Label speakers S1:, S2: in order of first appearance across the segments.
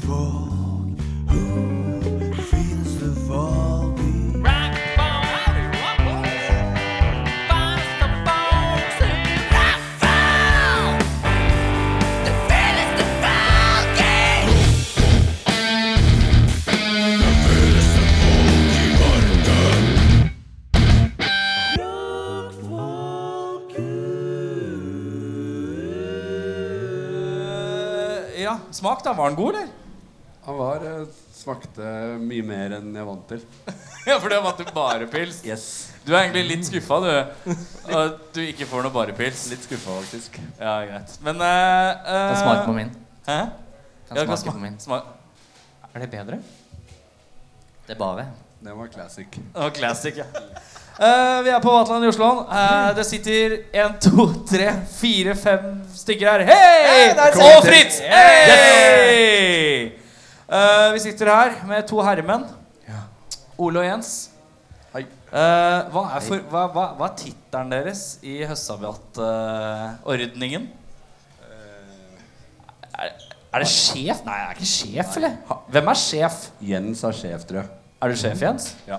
S1: folk? Who feels the fall beat?
S2: Eh, Ja, smak da. Var den god, eller?
S3: Han var eh, smakte mye mer enn jeg vant til.
S2: Ja, for det var til bare pils.
S3: Yes.
S2: Du er egentlig litt skuffa, du. At du ikke får noe bare pils.
S3: Litt skuffa, faktisk.
S2: Ja, greit. Men eh, eh,
S4: Kan smake på min.
S2: Hæ?
S4: Kan
S2: Ja,
S4: smake
S2: sma-
S4: på min.
S2: sma- Er det bedre?
S4: Det er bare.
S3: Den var classic.
S2: Oh, classic, ja. Eh, vi er på Vatland i Oslo. Eh, det sitter én, to, tre, fire, fem stykker her. Hei! Og Fritz! Hei! Eh, vi sitter her med to herremenn. Ole og Jens.
S3: Hei.
S2: Eh, hva, er for, hva, hva, hva er tittelen deres i høstsabatordningen? er, er det sjef? Nei, jeg er ikke sjef, eller? Ha- Hvem er sjef?
S3: Jens er sjef, tror jeg.
S2: Er du sjef, Jens?
S3: Ja.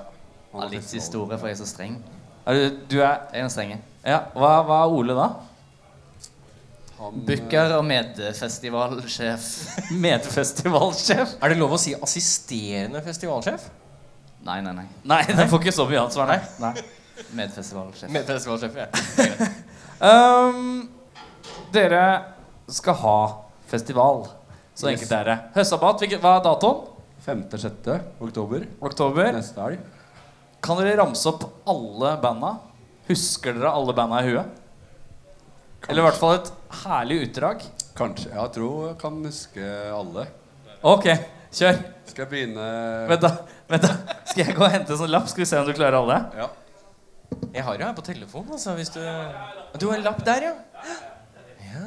S4: Ja, litt historie, for jeg er så streng.
S2: Er du, du er
S4: Jeg er en strenge.
S2: Ja, hva, hva er Ole da?
S3: Han,
S4: Booker og medfestivalsjef.
S2: Medfestivalsjef?
S5: Er det lov å si assisterende festivalsjef?
S4: Nei, nei, nei.
S2: Nei, den får ikke så mye ansvar, nei.
S4: Medfestivalsjef.
S5: Medfestivalsjef, ja.
S2: Ehm, dere skal ha festival. Så enkelt er det. Høstsabbat, hvilket- hva er datoen?
S3: 5.-6. oktober
S2: Oktober.
S3: neste helg.
S2: Kan dere ramse opp alle banda? Husker dere alle banda i huet? Eller i hvert fall et herlig utdrag.
S3: Kanskje. Ja, Jeg tror jeg kan huske alle.
S2: Ok, kjør.
S3: Skal jeg begynne
S2: Vent, da. Vent da. Skal jeg gå og hente en sånn lapp? Skal vi se om du klarer alle?
S3: Ja.
S5: Jeg har jo her på telefonen, altså, hvis du Du har en lapp der, ja? Ja.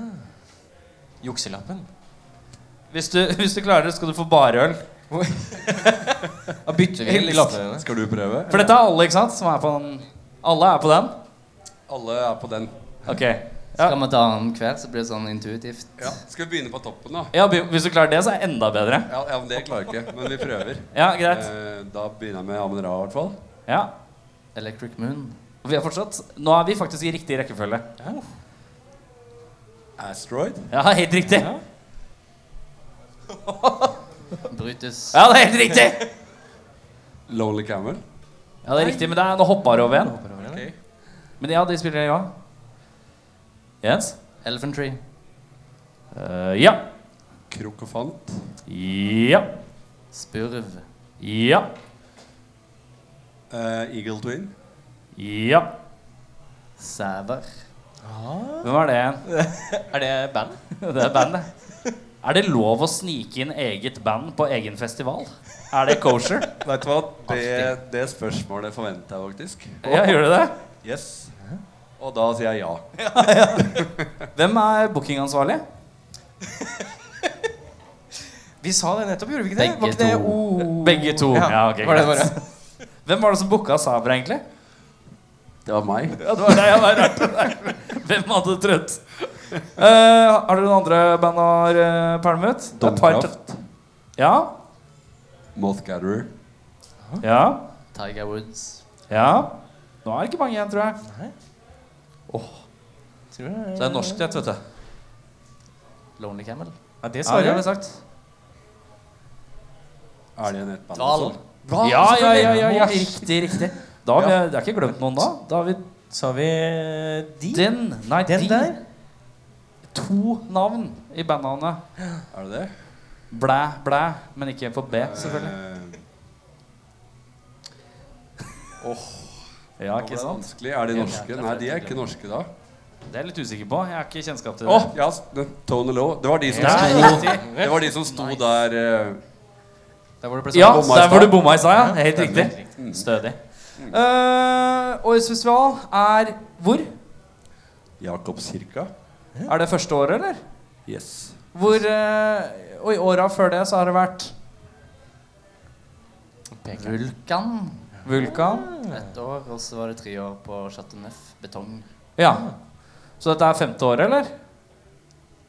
S5: Jukselappen.
S2: Hvis du, hvis du klarer det, skal du få bare øl.
S5: Da bytter vi
S2: Helst.
S5: lappene.
S3: Skal du prøve?
S2: For dette er alle, ikke sant? Som er på den. Alle er på den?
S3: Alle er på den.
S2: Ok. Ja,
S4: Skal vi ta den hver, så blir det sånn intuitivt.
S3: Ja. Skal vi begynne på toppen, da?
S2: ja be- Hvis du klarer det, så er det enda bedre.
S3: Ja, ja men Det klarer jeg ikke, men vi prøver.
S2: Ja, greit.
S3: Eh, da begynner jeg med Amund Ra, i hvert fall.
S2: Ja.
S4: Electric Moon.
S2: Og Vi er fortsatt Nå er vi faktisk i riktig rekkefølge.
S3: Asteroid.
S2: Ja, helt riktig.
S4: Brutus.
S2: Ja, det er helt riktig.
S3: Lonely Camel.
S2: Ja, det er riktig, men det er, nå hoppa det over igjen.
S3: Okay.
S2: Men ja, de spiller ja. Jens?
S4: Elephant Tree.
S2: Eh, ja.
S3: Krokofant.
S2: Ja.
S4: Spurv.
S2: Ja.
S3: Eh, Eagle Twin.
S2: Ja.
S4: Sæver.
S2: Hvem er det igjen?
S5: Er det band?
S2: Det er bandet. Er det lov å snike inn eget band på egen festival? Er det kosher?
S3: Vet du hva, det, det spørsmålet forventa jeg faktisk.
S2: Ja, gjør det det?
S3: Yes. Og da sier jeg ja.
S2: Hvem er bookingansvarlig?
S5: Vi sa det nettopp, gjorde vi ikke det?
S4: Begge
S5: var ikke det
S4: to.
S5: O-
S2: Begge to. Ja, ok,
S5: var det
S2: greit.
S5: bare?
S2: Hvem var det som booka Sabra, egentlig?
S3: Det var meg.
S2: Ja, det var deg. Ja, det var rart. Hvem hadde trøtt? Eh, har dere noen andre band å eh, pælme ut? Det er et par til-
S3: Domkraft.
S2: Ja.
S3: Moth Gatherer.
S2: Ja.
S4: Tiger Woods.
S2: Ja. Nå er det ikke mange igjen, tror jeg.
S5: Tror jeg.
S2: Så det er norsk det, vet du.
S4: Lonely Camel.
S5: Ja, det
S2: Ja, det har
S5: svarer jeg.
S2: vi sagt.
S3: Er det nettbandet?
S4: Dval.
S3: også?
S5: Hva?
S2: Ja, ja, ja, ja, ja.
S5: Selvfølgelig.
S2: Riktig, riktig. Da har vi, det er ikke glemt noen, da. Da har vi
S5: Sa vi eh, de?
S2: den. Nei,
S5: Den
S2: de.
S5: der?
S2: To navn i bandnavnet.
S3: Er det det?
S2: Blæ, blæ, men ikke på B, selvfølgelig.
S3: Eh,
S2: Ja,
S3: nå ble
S2: ikke
S3: det
S2: sant?
S3: vanskelig. Er de norske? Nei, de er ikke norske da.
S2: Det er jeg litt usikker på. Jeg har ikke kjennskap til
S3: Å,
S2: det.
S3: ja, s- det- Tone Low. Det var de som
S2: Det er
S3: sto
S2: riktig.
S3: Det var de som sto der eh,
S5: Der hvor det ble
S2: Ja,
S3: Bomma i
S2: der hvor
S3: stad. Mm.
S2: du bomma i stad. Ja. Helt
S5: stemmer.
S2: riktig. Stødig. Eh, årets festival er hvor?
S3: Jakobskirka.
S2: Er det første året, eller?
S3: Yes.
S2: Hvor, eh, og i åra før det så har det vært
S4: Vulkan.
S2: Vulkan.
S3: Ah.
S4: Ett år, og så var det tre år på Chateau Neuf. Betong.
S2: Ja. Så dette er femte året, eller?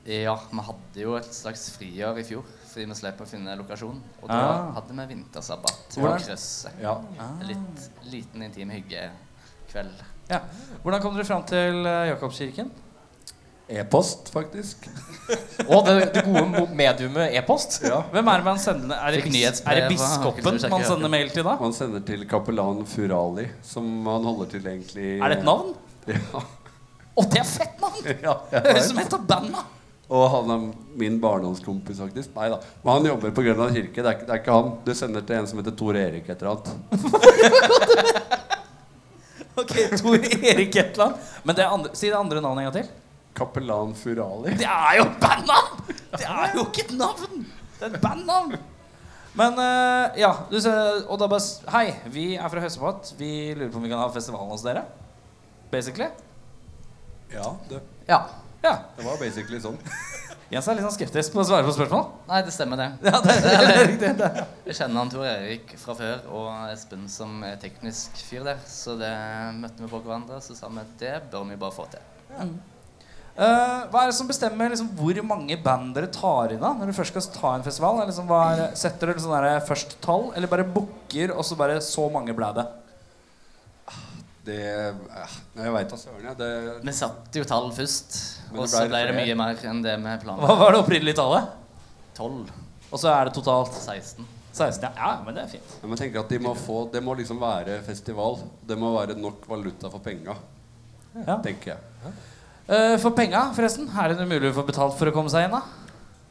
S4: Ja, vi hadde jo et slags friår i fjor. fordi vi slipper å finne lokasjon. Og da
S2: Ah.
S4: hadde vi vintersabbat på
S2: Hvordan? Ah.
S4: krysset.
S2: Ja.
S4: Litt liten intim hyggekveld.
S2: ja. Hvordan kom dere fram til eh, Jakobskirken?
S3: E-post, faktisk.
S5: Og det, det gode mo- mediumet e-post.
S3: Ja.
S2: Hvem er det man sender Er det,
S4: Fikk
S2: bis er
S4: nyhetsbrev,
S2: det
S4: og han
S2: biskopen
S4: kunne sjekke
S2: man sender mail til da?
S3: Han sender til kapellan Furali, som han holder til egentlig
S2: Er det et navn?
S3: Ja.
S2: Å, det er fett navn!
S3: ja jeg
S2: Høres ut
S3: vet.
S2: som et av bandene.
S3: Og han er min barndomskompis, faktisk. Nei da. Men han jobber på Grønland kirke. Det er, ikke- det er ikke han. Du sender til en som heter Tor Erik et eller annet.
S2: Ok, Tor Erik et eller annet. Men det er andre, si det andre navnet en gang til.
S3: Kapellan Furali.
S2: Det er jo et bandnavn! Det er jo ikke et navn! Det er et bandnavn. Men eh, ja, du ser, og da bare s- Hei, vi er fra Høsepott. Vi lurer på om vi kan ha festivalen hos dere. Basically.
S3: Ja, det,
S4: Ja.
S2: Ja.
S3: det var basically sånn.
S2: Jens er litt sånn skeptisk på å svare på spørsmål.
S4: Nei, det stemmer, det.
S2: Ja, det, det, det, er riktig, det.
S4: Jeg kjenner han Tor Erik fra før, og Espen som er teknisk fyr der. Så det møtte vi på hverandre, så sa vi det bør vi bare få til.
S2: Eh, hva er det som bestemmer liksom, hvor mange band dere tar inn da når du først skal ta en festival? Er liksom, hva er, setter dere sånn der først tall, eller bare booker, og så bare så mange ble det?
S3: Det eh, Jeg veit da søren, jeg. Det
S4: Vi satte jo tall først,
S3: Men det
S4: og så
S3: ble
S4: ble det
S3: flere.
S4: mye mer enn det vi planla.
S2: Hva var det opprinnelige tallet?
S4: 12?
S2: Og så er det totalt
S4: 16?
S2: 16. Ja, ja men det er fint.
S3: jeg må tenke at de må få, Det må liksom være festival. Det må være nok valuta for penga,
S2: Ja.
S3: tenker jeg.
S2: Eh, for penga, forresten. Er det noe mulig å få betalt for å komme seg inn, da?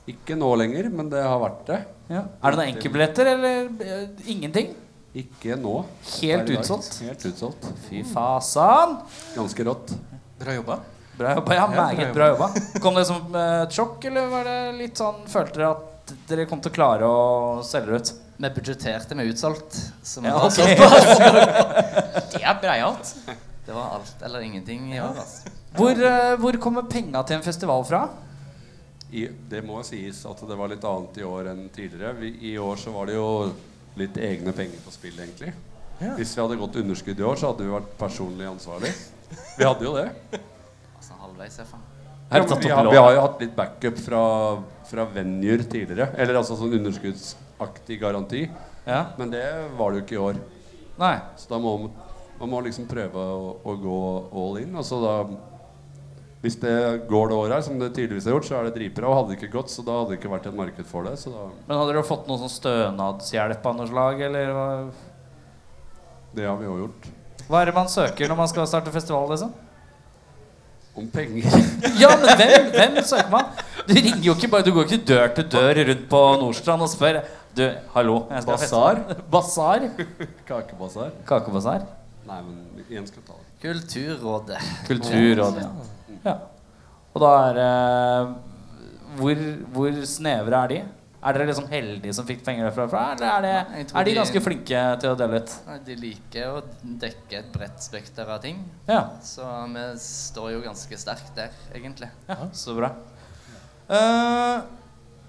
S3: Ikke nå lenger, men det har vært det.
S2: Er det noen enkeltbilletter, eller eh, ingenting?
S3: Ikke nå.
S2: Helt
S3: Per i dag.
S2: utsolgt.
S3: Helt utsolgt.
S2: Fy fasan.
S3: Ganske rått.
S5: Bra jobba.
S2: Bra jobba. Ja,
S5: bra
S2: meget
S5: jobba.
S2: bra jobba. Kom det som eh, et sjokk, eller var det litt sånn Følte dere at dere kom til å klare å selge det ut?
S4: Vi budsjetterte med utsolgt, så vi
S2: Ja,
S4: var sånn
S2: ok.
S5: Det er breialt.
S4: Det var alt eller ingenting i år. Altså.
S2: Hvor, eh, hvor kommer penga til en festival fra?
S3: I, det må sies at det var litt annet i år enn tidligere. Vi, I år så var det jo litt egne penger på spill, egentlig.
S5: Ja.
S3: Hvis vi hadde gått underskudd i år, så hadde vi vært personlig ansvarlig. Vi hadde jo det.
S4: altså halvveis, jeg faen.
S2: Har du
S3: Ja, men
S2: tatt
S3: vi,
S2: opp
S3: har,
S2: lån?
S3: vi har jo hatt litt backup fra, fra venuer tidligere. Eller altså sånn underskuddsaktig garanti.
S2: Ja.
S3: Men det var det jo ikke i år.
S2: Nei.
S3: Så da må man, man må liksom prøve å, å gå all in. Og så da Hvis det går det året her, som det tydeligvis har gjort, så er det dritbra. Og hadde det ikke gått, så da hadde det ikke vært et marked for det. Så da
S2: Men hadde dere fått noe sånn stønadshjelp av noe slag, eller hva,
S3: Det har vi òg gjort.
S2: hva er det man søker når man skal starte festival, liksom?
S3: Om penger.
S2: Ja, men hvem, hvem søker man? Du ringer jo ikke bare, du går ikke dør til dør rundt på Nordstrand og spør Du, hallo, jeg skal
S3: Basar?
S2: feste. Basar?
S3: Kakebasar.
S2: Kakebasar?
S3: Nei, men Jens skal ta det.
S4: Kulturrådet.
S2: Kulturrådet. Ja. ja. Og da er eh, hvor, hvor snevre er de? Er dere liksom heldige som fikk penger derfra? Eller er,
S4: Nei, jeg
S2: det,
S4: tror
S2: er de
S4: de-
S2: ganske flinke til å dele ut?
S4: Nei, De liker å dekke et bredt spekter av ting,
S2: Ja.
S4: så vi står jo ganske sterkt der, egentlig.
S2: ja. Så bra. Eh,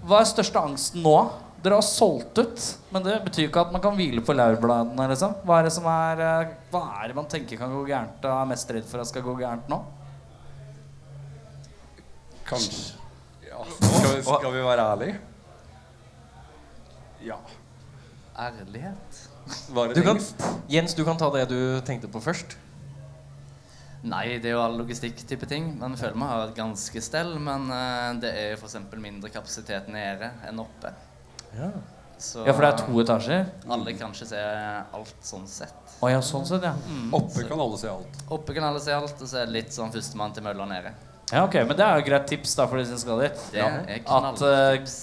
S2: hva er største angsten nå? Dere har solgt ut, men det betyr jo ikke at man kan hvile på laurbladene. Liksom. Hva, er det som er, eh, hva er det man tenker kan gå gærent, og er mest redd for at skal gå gærent nå?
S3: Kanskje. Ja. Skal, vi, skal vi være ærlige? Ja.
S4: Ærlighet?
S3: Var
S5: Du
S3: det
S5: kan,
S3: lengst?
S5: Jens, du kan ta det du tenkte på først.
S4: Nei, det er jo all logistikk-type ting. Man føler man har et ganske stell, men eh, det er jo f.eks. mindre kapasitet nede enn oppe.
S5: Ja.
S4: Så
S2: Ja, for det er to etasjer.
S4: alle kan ikke se alt sånn sett.
S2: Å ja, sånn sett, ja. Mm.
S3: Oppe kan alle se alt.
S4: Oppe kan alle se alt, og så er det litt sånn førstemann til mølla nede.
S2: Ja, ok, Men det er jo et greit tips da for de som skal dit.
S4: Det er
S2: At eh,
S4: knalltips.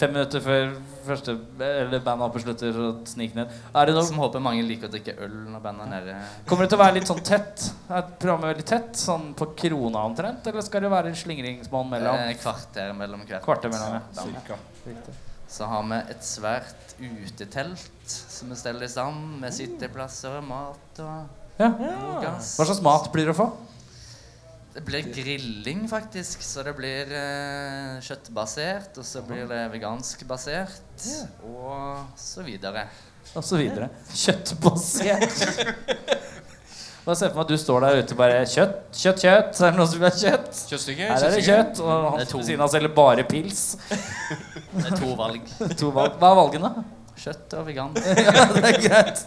S2: fem minutter før første Eller bandet oppe slutter, så snik ned. Er det noe,
S4: Som håper mange liker å drikke øl når bandet er nede.
S2: kommer det til å være litt sånn tett? Er programmet veldig tett? Sånn på krona omtrent? Eller skal det være en slingringsmonn mellom?
S4: Eh, Kvarter mellom hvert.
S2: Kvarter mellom, ja.
S3: Cirka.
S4: Så har vi et svært utetelt som vi steller i stand, med sitteplasser og mat
S2: Mm.
S4: og
S2: Ja.
S4: god gass.
S2: Hva slags mat blir det å få?
S4: Det blir grilling, faktisk. Så det blir eh, kjøttbasert, og så blir det vegansk basert, og så videre.
S2: Og så videre. Kjøttbasert. Da ser jeg for meg at du står der ute og bare Kjøtt, kjøtt, kjøtt. Er det noen som vil ha kjøtt?
S5: Kjøttstykker?
S2: Her er det
S5: kjøttstykker.
S2: kjøtt. Og han
S4: Det er to.
S2: ved siden av selger bare pils.
S4: Det er to valg.
S2: To valg. Hva er valgene?
S4: Kjøtt og vegan.
S2: ja, det er greit.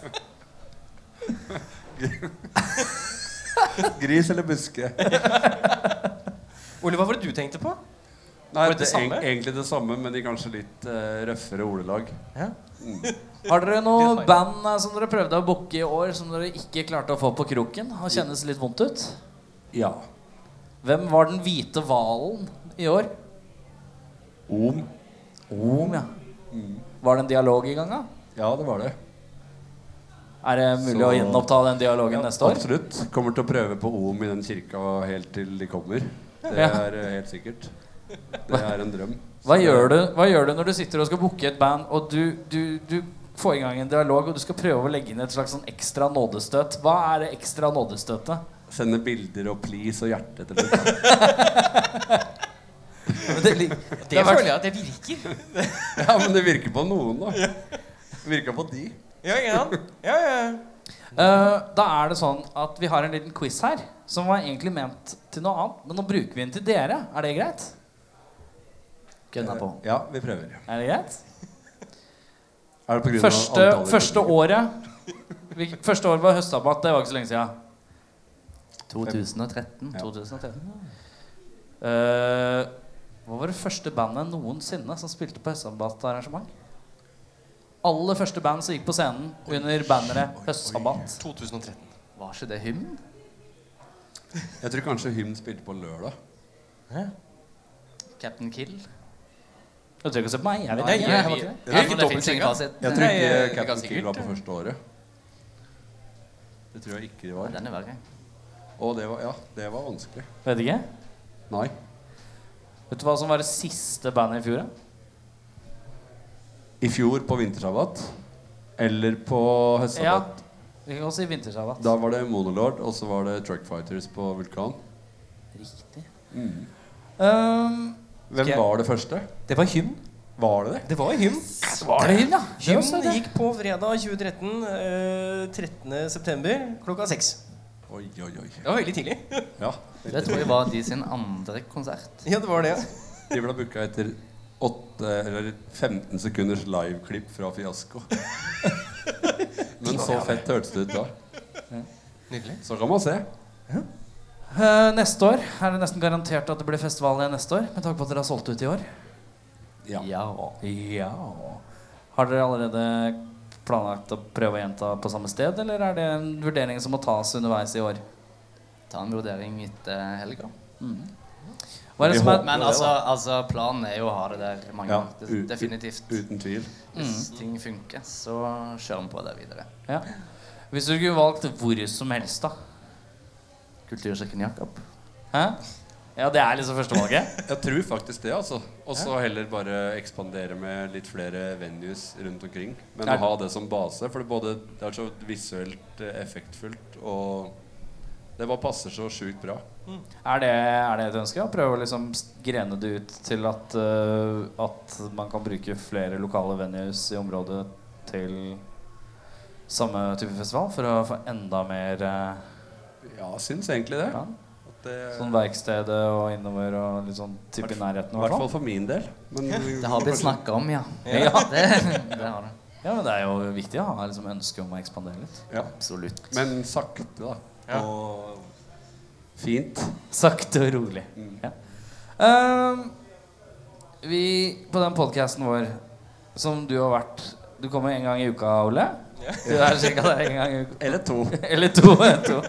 S3: Gris eller buske?
S5: Ole, hva var det du tenkte på?
S3: Nei,
S5: Var det
S3: det
S5: det
S3: er
S5: samme?
S3: egentlig det samme, men i kanskje litt eh, røffere ordelag.
S5: Ja.
S2: Har dere noe
S5: Det er feil.
S2: band eh, som dere prøvde å booke i år, som dere ikke klarte å få på kroken? Og kjennes litt vondt ut?
S3: Ja.
S2: Hvem var den hvite hvalen i år?
S3: Om.
S2: Om, ja. Var det en dialog i gang, da?
S3: Ja, det var det.
S2: Er det mulig
S3: Så-
S2: å gjenoppta den dialogen neste år?
S3: Absolutt. Kommer til å prøve på Om i den kirka helt til de kommer. Det
S2: Ja.
S3: er eh, helt sikkert. Det er en drøm.
S2: Hva gjør, du, hva gjør du når du sitter og skal booke et band, og du, du, du får i gang en dialog, og du skal prøve å legge inn et slags sånn ekstra nådestøt? Hva er det ekstra nådestøtet?
S3: Sende bilder og please og hjerte til dem.
S2: Det, lig-
S5: Det
S2: har vært-
S5: føler jeg at det virker.
S3: Ja, men det virker på noen, da. Det virka på de.
S5: Ja, ja. ja, ja.
S2: Eh, da er det sånn at vi har en liten quiz her, som var egentlig ment til noe annet, men nå bruker vi den til dere. Er det greit? Gønna på.
S3: Ja, vi prøver.
S2: Er det greit?
S3: Er det på grunn av
S2: Første,
S3: antallet
S2: første
S3: publikum?
S2: året vi, Første året var høstsabbat. Det var ikke så lenge siden.
S4: 2013.
S3: Ja.
S4: 2013.
S2: Eh, hva var det første bandet noensinne som spilte på høstsabbatarrangement? Aller første band som gikk på scenen under banneret Høstsabbat.
S5: 2013.
S4: Var ikke det hymn?
S3: Jeg tror kanskje Hymn spilte på lørdag.
S4: Captain Kill?
S2: Du trenger ikke å se på meg. Jeg vet
S5: Nei,
S2: ikke.
S5: jeg-
S2: Jeg var ikke det.
S5: jeg-
S4: Ja,
S5: ikke
S4: for det fins
S5: dobbeltsjekka.
S4: ingen fasit.
S3: Jeg
S5: Nei,
S3: tror
S5: jeg- jeg
S3: ikke
S5: kan
S3: Captain Kill
S5: sikkert-
S3: var på første året. Det tror jeg ikke de
S4: Nei,
S3: var.
S4: Den er verre.
S3: Og det var, ja, det var vanskelig.
S2: Vet ikke.
S3: Nei.
S2: Vet du hva som var det siste bandet i fjor? da?
S3: I fjor på vintersabbat eller på
S2: Ja.
S3: høstsabbat.
S2: Vi kan også si vintersabbat.
S3: Da var det Monolord, og så var det Truck Fighters på Vulkan.
S2: Riktig. Um,
S3: Hvem
S5: Ok.
S3: var det første?
S5: Det var hymn.
S3: Var det det?
S5: Det var hymn.
S2: var det hymn, ja?
S5: Hymn gikk på fredag 2013, eh, 13. september, klokka seks.
S3: Oi, oi, oi.
S5: Det var veldig tidlig.
S3: Ja.
S4: Det tror jeg var de sin andre konsert.
S5: Ja, det var det.
S3: De ble booka etter åtte, eller 15 sekunders liveklipp fra Fiasko. Men så fett hørtes det ut da.
S5: Nydelig.
S3: Så kan man se.
S2: Eh, neste år er det nesten garantert at det blir festival igjen neste år, med tanke på at dere har solgt ut i år.
S3: Ja.
S2: Ja. Har dere allerede planlagt å prøve å gjenta på samme sted, eller er det en vurdering som må tas underveis i år?
S4: Ta en vurdering etter helga.
S2: Hva er det
S3: Vi
S2: som er,
S4: Men altså, altså, planen er jo å ha det der mange
S3: Ja,
S4: ganger.
S3: u-
S4: Det- Definitivt.
S3: Uten tvil.
S4: Hvis
S2: Mm.
S4: ting funker, så kjører vi på det videre.
S2: ja. Hvis du skulle valgt hvor som helst, da?
S4: Kultursjekken Jakob.
S2: Hæ? Ja, det er liksom førstevalget?
S3: Jeg tror faktisk det, altså. Og så heller bare ekspandere med litt flere venues rundt omkring. Men
S2: Ja.
S3: å ha det som base, for det, både, det er så visuelt eh, effektfullt, og det bare passer så sjukt bra.
S2: er, det, er det et ønske? Å prøve å liksom grene det ut til at, eh, at man kan bruke flere lokale venues i området til samme type festival, for å få enda mer eh,
S3: Ja, syns egentlig det.
S2: Ja.
S3: At det
S2: Sånn verkstedet og innover og litt sånn type i nærheten
S3: I
S2: i
S3: hvert
S2: hvert fall.
S3: fall for min del. Men
S4: Det har blitt snakka om, ja.
S2: Ja.
S4: Det, det har det.
S2: Ja, men det er jo viktig å ha liksom ønske om å ekspandere litt.
S3: Ja.
S4: Absolutt.
S3: Men sakte, da.
S5: Ja.
S3: Og fint.
S2: Sakte og rolig. Ja. Ehm, vi, på den podcasten vår som du har vært Du kommer en gang i uka, Ole? Du er cirka der en gang i uka.
S3: Eller to.
S2: Eller to. to.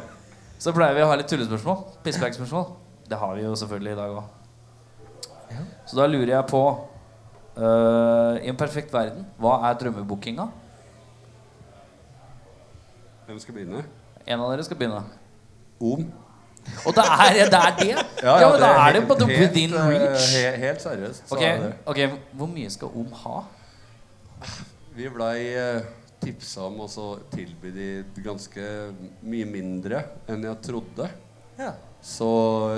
S2: Så pleier vi å ha litt tullespørsmål. Pisspreikspørsmål. Det har vi jo selvfølgelig i dag òg. Så da lurer jeg på eh, I en perfekt verden, hva er drømmebookinga?
S3: Hvem skal begynne?
S2: En av dere skal begynne.
S3: Om.
S2: Og det er det! Er det. Ja, men da er eh, det på the within reach.
S3: Helt, eh, helt seriøst. Så
S2: Ok,
S3: er det.
S2: ok, Hvor mye skal Om ha?
S3: Vi blei eh, tipsa om og så tilbød de ganske mye mindre enn jeg trodde.
S5: Ja.
S3: Så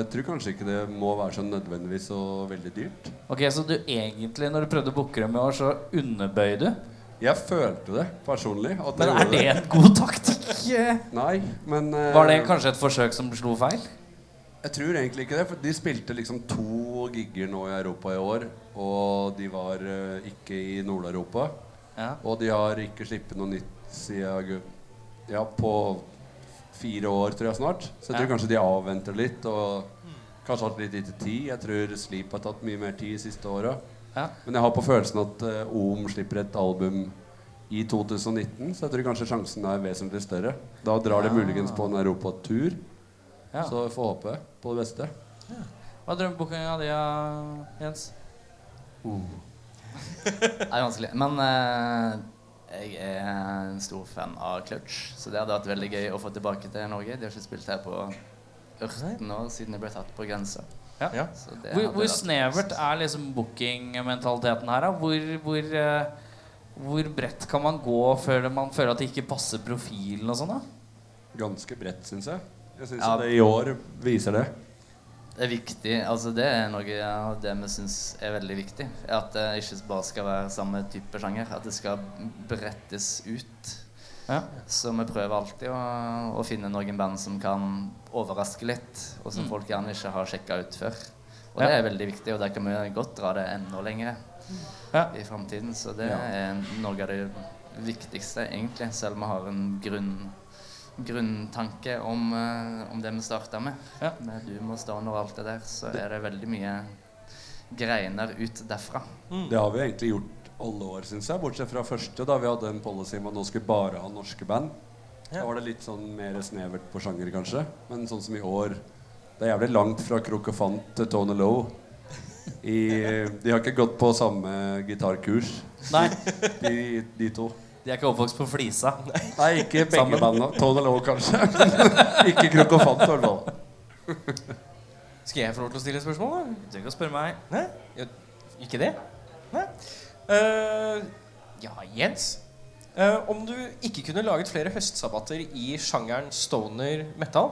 S3: jeg tror kanskje ikke det må være så nødvendigvis så veldig dyrt.
S2: Ok, Så du egentlig, når du prøvde å booke dem i år, så underbøy du?
S3: Jeg følte det personlig. At jeg
S2: Men er
S3: gjorde
S2: det en god taktikk?
S3: Nei, men eh,
S2: Var det kanskje et forsøk som slo feil?
S3: Jeg tror egentlig ikke det, for de spilte liksom to gigger nå i Europa i år, og de var eh, ikke i Nord-Europa.
S5: Ja.
S3: Og de har ikke slippet noe nytt siden august. Ja, på fire år, tror jeg snart. Så jeg tror
S5: Ja.
S3: kanskje de avventer litt, og kanskje har hatt litt lite tid. Jeg tror Sleep har tatt mye mer tid de siste åra.
S5: Ja.
S3: Men jeg har på følelsen at eh, OM slipper et album i 2019, så jeg tror kanskje sjansen er vesentlig større. Da drar de muligens på en europatur,
S5: Ja.
S3: så vi får håpe på det beste.
S5: Hva er drømmebookinga di, da, Jens?
S4: Det er vanskelig. Men eh, jeg er en stor fan av Clutch, så det hadde vært veldig gøy å få tilbake til Norge. De har ikke spilt her på 18 år siden de ble tatt på grensa.
S2: Ja.
S5: Ja.
S4: Så det
S2: Hvor,
S4: hadde
S2: hvor
S4: vært-
S2: snevert er liksom bookingmentaliteten her? Da? Hvor, hvor, eh, hvor bredt kan man gå før man føler at det ikke passer profilen og sånn? da?
S3: Ganske bredt, syns jeg. Jeg syns
S4: Ja.
S3: at det i år viser det.
S4: Det er viktig. altså Det er noe av det vi syns er veldig viktig. er At det ikke bare skal være samme type sjanger. At det skal brettes ut.
S2: Ja.
S4: Så vi prøver alltid å, å finne noen band som kan overraske litt, og som folk gjerne ikke har sjekka ut før. Og det
S2: Mm. Ja.
S4: er veldig viktig, og der kan vi godt dra det enda lenger
S2: Ja.
S4: i framtiden. Så det
S3: Ja.
S4: er noe av det viktigste, egentlig. Selv om vi har en grunn, grunntanke om, eh, om det vi starta med.
S2: Ja.
S4: Med du må stå under alt det der, så er det veldig mye greiner ut derfra.
S3: Det har vi egentlig gjort alle år, syns jeg. Bortsett fra første, da vi hadde en policy om at nå skulle vi bare ha norske band. Da
S5: Ja.
S3: var det litt sånn mer snevert på sjanger, kanskje. Men sånn som i år Det er jævlig langt fra Krokofant til Tony Low. I, de har ikke gått på samme gitarkurs,
S2: Nei,
S3: de, de to.
S2: de er ikke oppvokst på Flisa.
S3: Nei, ikke begge bandene. Tony Low, kanskje. ikke Krokofant, i hvert fall.
S5: Skal jeg få lov til å stille et spørsmål? da?
S2: Du kan spørre meg.
S5: Nei? Ja, ikke det? Nei? Eh, ja, Jens. Eh, om du ikke kunne laget flere høstsabbater i sjangeren stoner metal,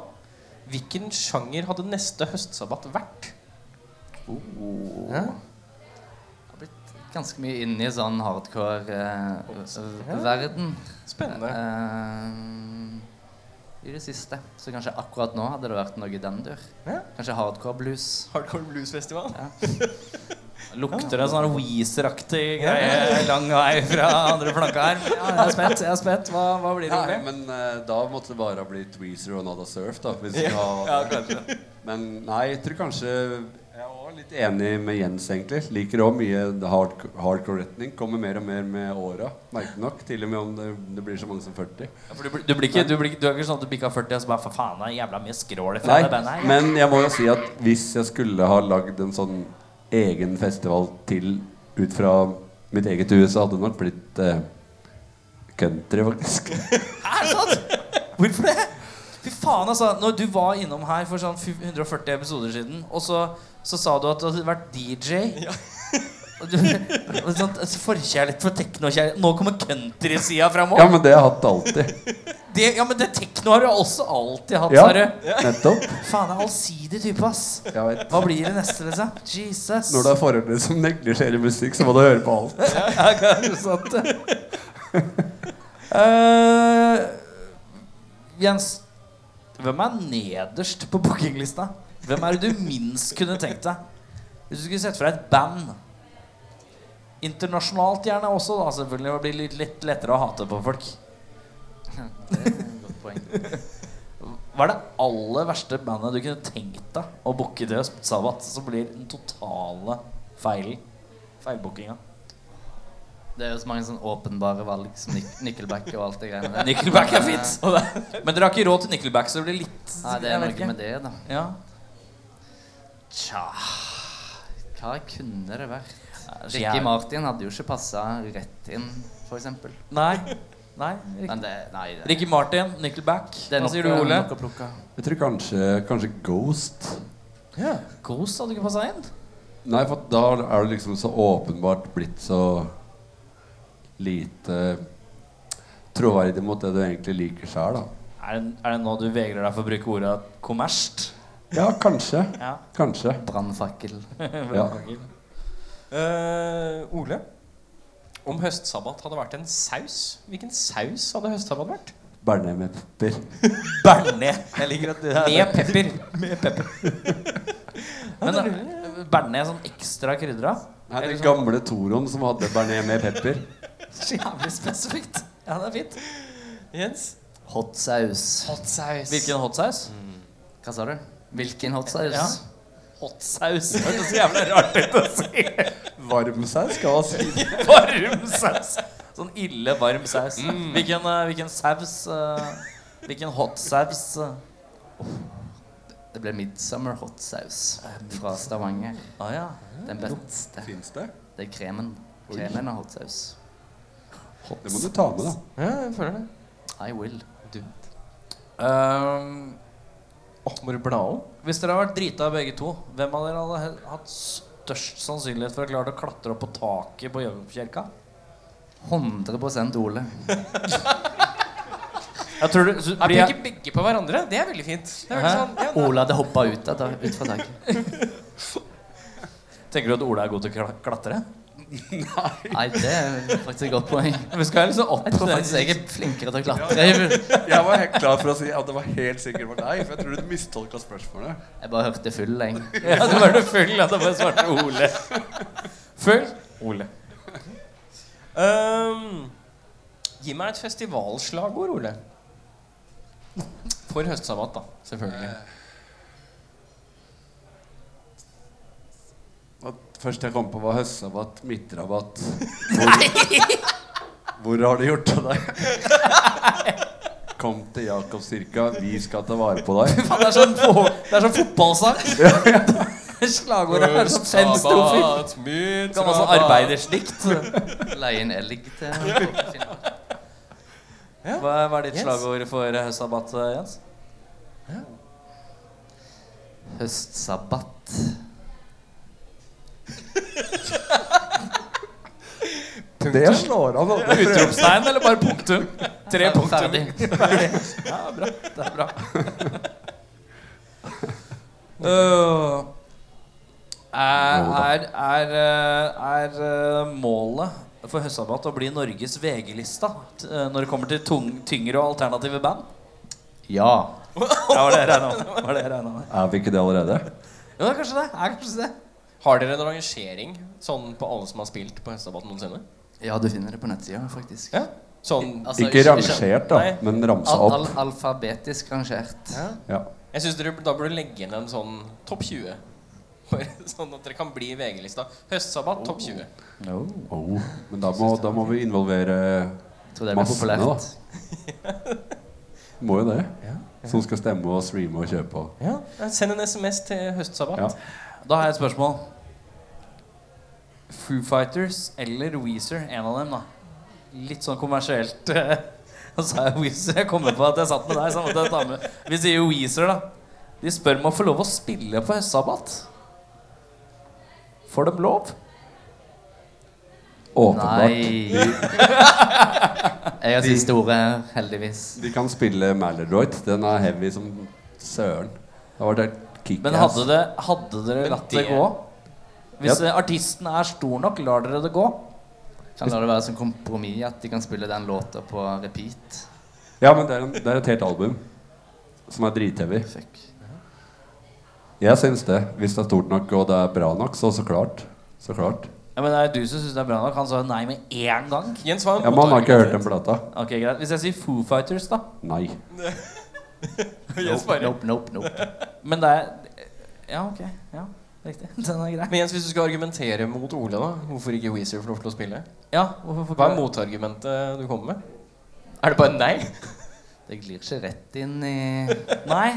S5: hvilken sjanger hadde neste høstsabbat vært? Hæ?
S4: har blitt ganske mye inn i sånn eh, hardcore-verden
S5: Spennende.
S4: Eh, i det siste. Så kanskje akkurat nå hadde det vært noe i den dur.
S5: Ja.
S4: Kanskje hardcore-blues.
S5: Hardcore Blues Festival.
S2: Lukter en sånn Weezer-aktig greie lang vei fra andre flanka her. Men Ja, jeg er spent. jeg er spent. Hva, hva blir det?
S3: Nei,
S2: Ole?
S3: men eh, da måtte det bare ha blitt Tweezer og Nada Surf, da. Hvis vi skal ha Men nei, jeg tror kanskje Jeg er også litt enig med Jens, egentlig. Liker òg mye hard, hardcore retning. Kommer mer og mer med åra, merkelig nok. Til og med om det, det blir så mange som 40.
S2: Ja, for Du, blir- du, blir ikke, du, blir, ikke- du er ikke sånn at du bikka 40 og så bare for faen, det er jævla mye skrål fra
S3: Nei,
S2: det bandet her.
S3: men jeg må jo si at hvis jeg skulle ha lagd en sånn egen festival til ut fra mitt eget hus, så hadde det nok blitt eh, country, faktisk.
S2: Er det sant? Hvorfor det? Fy faen, altså. Når du var innom her for sånn 140 episoder siden, og så, så sa du at du hadde vært DJ. Og du, og sånn, altså, forkjærlighet for teknokjærlighet. Nå kommer countrysida fram
S3: Ja,
S2: òg.
S3: men det har jeg hatt alltid.
S2: Det- Ja, men det tekno har du også alltid hatt,
S3: Ja,
S2: sa du.
S3: nettopp.
S2: Faen, det er allsidig type, ass.
S3: Jeg vet.
S2: Hva blir det neste, liksom? Jesus.
S3: Når du har foreldre som neglisjerer musikk, så må du høre på alt.
S2: Ja, kanskje sant det. Eh, Jens, hvem er nederst på bookinglista? Hvem er det du minst kunne tenkt deg? Hvis du skulle sett fra et band Internasjonalt gjerne også, da selvfølgelig. Det blir litt, litt lettere å hate på folk.
S4: Det er et godt poeng.
S2: Hva er det aller verste bandet du kunne tenkt deg å booke til Øst Sabbat, som blir den totale feilen? Feilbookinga.
S4: Det er jo så mange sånn åpenbare valg som Nic- Nickelback og alt det greiene der.
S2: Nickelback er
S4: Men, eh,
S2: fint! Men dere har ikke råd til Nickelback, så det blir litt
S4: Nei, det
S2: jeg
S4: er
S2: vet ikke.
S4: noe med det, da.
S2: Ja.
S4: Tja Hva kunne det vært?
S2: så
S4: Ricky
S2: jæv-
S4: Martin hadde jo ikke passa rett inn, for eksempel.
S2: Nei. Nei. Riktig.
S4: Men det, nei, det,
S2: Ricky Martin, Nickelback.
S4: det er
S2: Hva
S4: nok,
S2: sier du, Ole?
S4: nok å plukke. av.
S3: Jeg tror kanskje, kanskje Ghost.
S2: Ghost hadde ikke passa inn.
S3: Nei, for da er det liksom så åpenbart blitt så lite troverdig mot det du egentlig liker sjøl, da.
S2: Er det, er det nå du vegrer deg for å bruke ordet kommersielt?
S3: Ja, kanskje.
S2: Ja.
S3: Kanskje.
S4: Brannfakkel.
S3: Ja.
S5: Eh, Ole? Om høstsabbat hadde vært en saus, hvilken saus hadde høstsabbat vært?
S3: Berne med pepper.
S2: Bernet. Jeg liker at du
S5: Med pepper.
S2: Med pepper. Men eh, Bernet er sånn ekstra krydra?
S3: Nei, den gamle Toron som hadde bearnés med pepper.
S2: Så jævlig spesifikt. Ja, det er fint.
S5: Jens?
S4: Hot saus.
S5: Hotsaus.
S2: Hvilken hotsaus?
S4: Hva sa du? Hvilken hot saus?
S2: Ja. Hotsaus. Hørtes så jævlig rart ut altså. å si.
S3: Varmsaus skal man si.
S2: Varm saus. Sånn ille varm saus. Hvilken, eh, hvilken saus eh, Hvilken hotsaus eh?
S4: Det ble Midsummer hot saus
S2: Eh,
S4: fra Stavanger.
S2: ah, ja.
S4: Den beste.
S3: Fins det?
S4: Det er kremen. Kremen er hot saus.
S3: Det må du ta med, da.
S5: Ja, jeg føler det.
S4: I will.
S5: Du.
S2: Ehm,
S5: Åh, må du bla om?
S2: Hvis dere hadde vært drita begge to, hvem av dere hadde he- hatt størst sannsynlighet for å klare å klatre opp på taket på Gjøvikkirka?
S4: 100 Ole.
S2: Jeg tror du, så,
S5: Er
S2: blir jeg,
S5: ikke begge på hverandre? Det er veldig fint. Det er veldig
S2: Hæ?
S5: sånn, ja, nei.
S4: Ole hadde hoppa ut, av- ut fra taket.
S2: tenker du at Ola er god til å kla- klatre?
S4: Nei, det er faktisk et godt poeng.
S2: Vi skal liksom opp
S4: Jeg tror
S2: den-
S4: faktisk jeg er flinkere til å klatre.
S3: Jeg var helt klar for å si at det var helt sikkert var deg, for jeg tror du mistolka spørsmålet.
S4: Jeg bare hørte full, jeg.
S2: Ja, det var det full. Ja, det bare svarte Ole. Full Ole.
S5: Øhm, Eh, gi meg et festivalslagord, Ole. For høstsabbat, da. Selvfølgelig.
S3: At først jeg kom på, var høstsabbat, midtrabatt. Hvor, hvor har du gjort av deg? Kom til Jakobskirka, vi skal ta vare på deg.
S2: Faen, det er sånn, fo- det er sånn fotballsang. Slagordet er sånn fem strofer.
S5: mitt
S2: Gammel sånn arbeidersdikt.
S4: Leie en elg til Finland.
S2: Hva, hva er ditt
S5: Yes.
S2: slagord for eh, høstsabbat, eh, Jens?
S4: Høstsabbat.
S3: Det slår an. da.
S2: Utropstegn eller bare punktum? Tre punktum.
S4: Ferdig.
S2: Ja, bra. Det er bra. Øh, er, er, er, øh, er øh, målet for Høstsabbat å bli Norges VG-lista t- øh, når det kommer til tung, tyngre og alternative band?
S4: Ja.
S2: Ja, var det jeg regna med. Var det jeg regnet med.
S3: Er vi ikke det allerede?
S2: Jo, det er kanskje det. Er kanskje det.
S5: Har dere en rangering sånn på alle som har spilt på høstsabbat noensinne?
S4: Ja, du finner det på nettsida, faktisk.
S5: Ja. Sånn
S4: Altså,
S3: Ikke rangert, da,
S5: Nei.
S3: men ramsa
S4: al al
S3: opp.
S4: alfabetisk rangert.
S5: ja.
S3: Ja.
S5: Jeg syns dere da burde legge inn en sånn topp 20. Bare sånn at dere kan bli i VG-lista. Høstsabbat, topp 20.
S3: Oh. Men da må, da må vi involvere
S4: Jeg tror det blir
S3: Massene,
S4: populært.
S3: Må jo det. Som skal stemme og streame og kjøpe og
S5: Ja. Send en SMS til høstsabbat.
S3: Ja.
S2: Da har jeg et spørsmål. Foo Fighters eller Weezer? En av dem, da. Litt sånn kommersielt. eh, Og så er Weezer Jeg kommer på at jeg satt med deg. Så måtte jeg ta med. Vi sier jo Weezer, da. De spør om å få lov å spille på høstsabbat. Får de lov?
S3: Åpenbart.
S4: Nei. Jeg har siste ordet, heldigvis.
S3: De kan spille Maladroit. Den er heavy som søren. Det har vært helt
S2: Men
S3: kickass.
S2: hadde, det, hadde dere
S5: Men
S2: latt det
S5: det-
S2: gå? Hvis eh, artisten er stor nok, lar dere det gå?
S4: Kan la det være som kompromiss at de kan spille den låta på repeat.
S3: Ja, men det er, en, det er et helt album som er dritheavy.
S4: Fuck.
S3: Jeg syns det. Hvis det er stort nok og det er bra nok, så så klart. Så klart.
S2: Ja, men det er du som syns det er bra nok. Han sa nei med én gang.
S5: Jens, hva er
S3: Ja, Man har ikke hørt den plata.
S2: Ok, greit. Hvis jeg sier Foo Fighters, da.
S3: Nei.
S5: Jens
S4: Nope,
S5: bare.
S4: nope, nope. nope.
S2: Men det er Ja, ok. Ja, riktig. Den er grei.
S5: Men Jens, hvis du skal argumentere mot Ole, da hvorfor ikke Weezer får lov til å spille?
S2: Ja, hvorfor får
S5: Hva er
S2: ikke jeg-
S5: motargumentet du kommer med? Er det bare nei?
S4: Det glir ikke rett inn i
S2: Nei.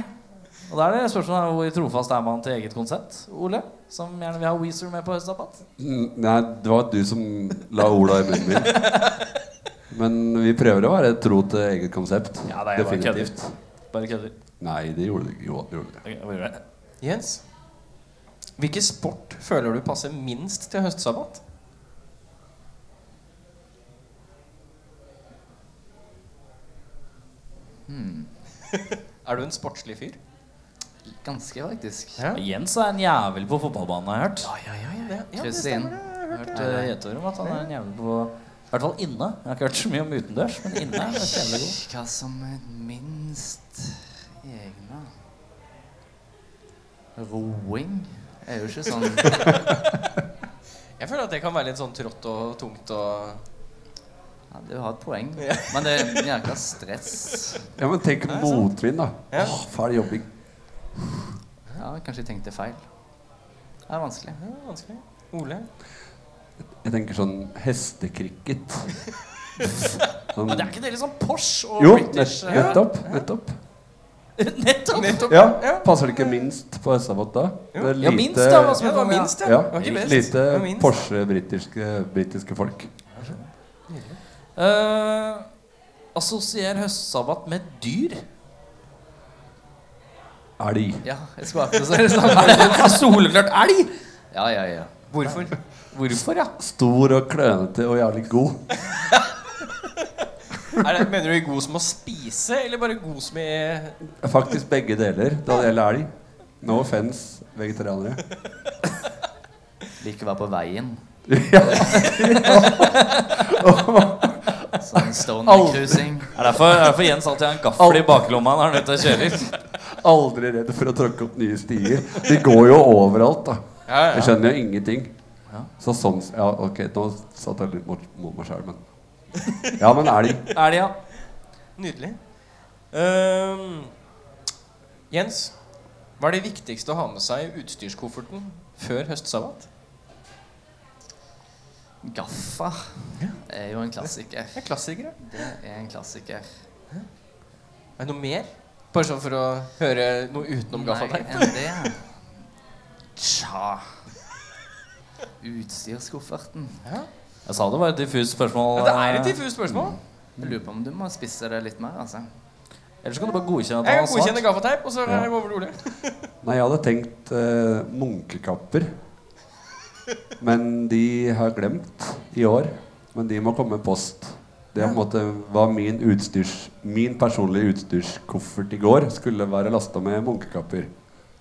S2: Og da er det spørsmålet her, hvor trofast er man til eget konsept, Ole? Som gjerne vil ha Weezer med på høstsabbat.
S3: N- Nei, det var du som la orda i munnen min. Men vi prøver å være tro til eget konsept.
S2: Ja, nei, jeg bare
S3: Definitivt.
S2: Bare kødder.
S3: Nei, det gjorde du ikke. Jo, det gjorde du.
S2: Ok, jeg bare gjør det.
S5: Jens, hvilken sport føler du passer minst til høstsabbat? er du en sportslig fyr?
S4: Ganske, faktisk.
S5: Ja.
S2: Jens er en jævel på fotballbanen, har jeg hørt.
S5: Ja, ja, ja. ja, det
S4: Kryss
S5: stemmer
S4: inn.
S5: det.
S2: Jeg har hørt eh, gjetord om at han er en jævel på
S6: I hvert fall inne. Jeg har ikke hørt så mye om utendørs, men inne er det kjedelig god.
S4: Hva som er minst egna Roing er jo ikke sånn
S5: Jeg føler at det kan være litt sånn trått og tungt og
S4: ja, Du har et poeng. Men det er jækla stress.
S3: Ja, men tenk motvind, da.
S5: Ja.
S3: Åh, Fæl jobbing.
S4: Ja, kanskje jeg tenkte feil. Det er vanskelig.
S5: ja, vanskelig. Ole?
S3: Jeg tenker sånn hestekricket. Sånn-
S2: Men det er ikke det litt sånn Porsche og
S3: jo, nett,
S2: British? eh,
S3: nettopp. nettopp.
S2: nettopp.
S5: Nettopp.
S3: Ja, Passer det ikke minst på Hessabot da? Det er
S2: Ja, minst, da. Hva som
S5: Ja, det var minst, ja.
S3: ja,
S5: Det var ikke best.
S3: lite
S5: Det var minst.
S3: Porsche-britiske britiske folk.
S2: Eh, assosier høstsabbat med dyr?
S3: Elg.
S4: Ja, jeg skulle akkurat si det samme.
S2: Soleklart elg!
S4: Ja, ja, ja.
S5: Hvorfor?
S2: Hvorfor, ja?
S3: Stor og klønete og jævlig god.
S5: Er det, mener du god som å spise, eller bare god som i
S3: Faktisk begge deler da det gjelder elg. No offence, vegetarianere.
S4: Liker å være på veien.
S3: Ja,
S4: Sånn Stoner cruising.
S2: Det er derfor, det er derfor Jens alltid har en gaffel i baklomma når han er nødt til å kjøre litt.
S3: Aldri redd for å tråkke opp nye stier. De går jo overalt, da. Jeg skjønner jo ingenting. Så sånn s- Ja, ok, nå satt jeg litt mot, mot meg sjøl, men Ja, men elg.
S2: Elg, ja.
S5: Nydelig. Ehm, Jens, hva er det viktigste å ha med seg i utstyrskofferten før høstsabbat?
S4: Gaffa er jo en klassiker.
S5: Det er klassikere.
S4: Det er en klassiker.
S5: Er det noe mer? Bare sånn for å høre noe utenom
S4: Nei,
S5: gaffateip.
S4: enn det. Tja Utstyrskofferten.
S2: Jeg sa det var et diffust spørsmål.
S5: Ja, det er et
S2: eh,
S5: diffust spørsmål.
S4: Jeg lurer på om du må spisse det litt mer, altså.
S2: Ellers kan du bare godkjenne at
S5: Jeg
S2: han
S5: kan
S2: har
S5: godkjenne
S2: svart.
S5: gaffateip, og så
S3: Ja.
S5: er det over til Ole.
S3: Nei, jeg hadde tenkt eh, munkekapper. Men de har jeg glemt i år. Men de må komme post. Det er på en måte var min utstyrs Min personlige utstyrskoffert i går skulle være lasta med munkekapper.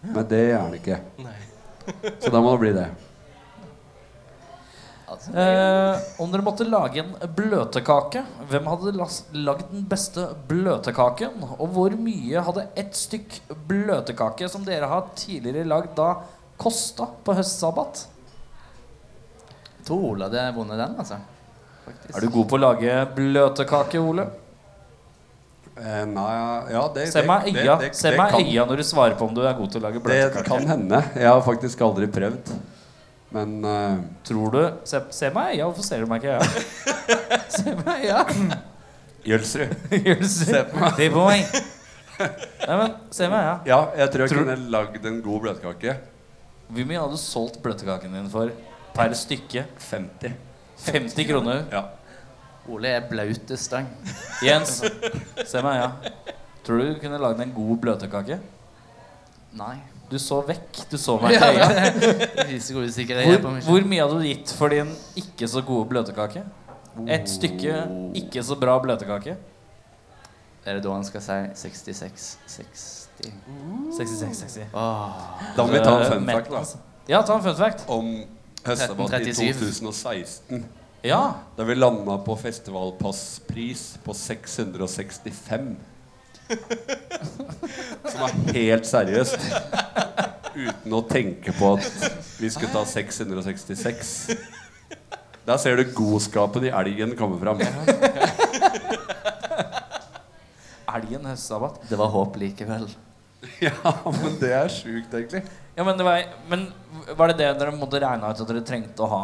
S3: Men det er den ikke. Så da må det bli det.
S4: altså
S2: Eh, om dere måtte lage en bløtkake, hvem hadde las- lagd den beste bløtkaken? Og hvor mye hadde ett stykk bløtkake som dere har tidligere lagd, da kosta på høstsabbat?
S4: jeg tror Ole hadde vunnet den, altså. Faktisk.
S2: Er du god på å lage bløtkake, Ole?
S3: Eh, nei, ja, det
S2: Se
S3: det-
S2: meg i
S3: det-
S2: øya
S3: det-
S2: Se
S3: det
S2: meg
S3: kan-
S2: i øya når du svarer på om du er god til å lage
S3: Det
S2: bløtkake.
S3: kan hende. Jeg har faktisk aldri prøvd. Men eh,
S2: Tror du Se, se meg i øya, hvorfor ser du meg ikke i øya? se meg i øya.
S3: Jølsrud.
S2: Gjør du se på meg? Det er på meg. Nei, men se meg i øya.
S3: Ja, jeg tror jeg
S2: Tror-
S3: kunne lagd en god bløtkake.
S2: Hvor mye hadde du solgt bløtkaken din for per stykke?
S3: 50.
S2: 50 kroner.
S3: Ja.
S4: Ole er blaut i stang.
S2: Jens, se meg i øya. Tror du du kunne lagd en god bløtkake?
S4: Nei.
S2: Du så vekk. Du så meg ikke i øya.
S4: Det viser hvor usikker jeg er på
S2: Hvor,
S4: meg selv.
S2: hvor mye hadde du gitt for din ikke så gode bløtkake? Et stykke
S3: Oh.
S2: ikke så bra bløtkake.
S4: Er det da han skal si 66 60?
S2: 66, 60.
S4: Åh.
S3: Da må vi ta
S2: Eh,
S3: en fun fact, da.
S2: altså. Ja, ta en fun fact.
S3: Om høstdebatt i
S4: 1337.
S3: 2016.
S2: Ja.
S3: Da vi landa på festivalpasspris på 665. Som er helt seriøst. Uten å tenke på at vi skulle ta 666. Der ser du godskapen i elgen komme fram.
S2: Elgen høstsabbat.
S4: Det var håp likevel.
S3: Ja, men det er sjukt, egentlig.
S2: Ja, men, det var, men var det det dere måtte regne ut at dere trengte å ha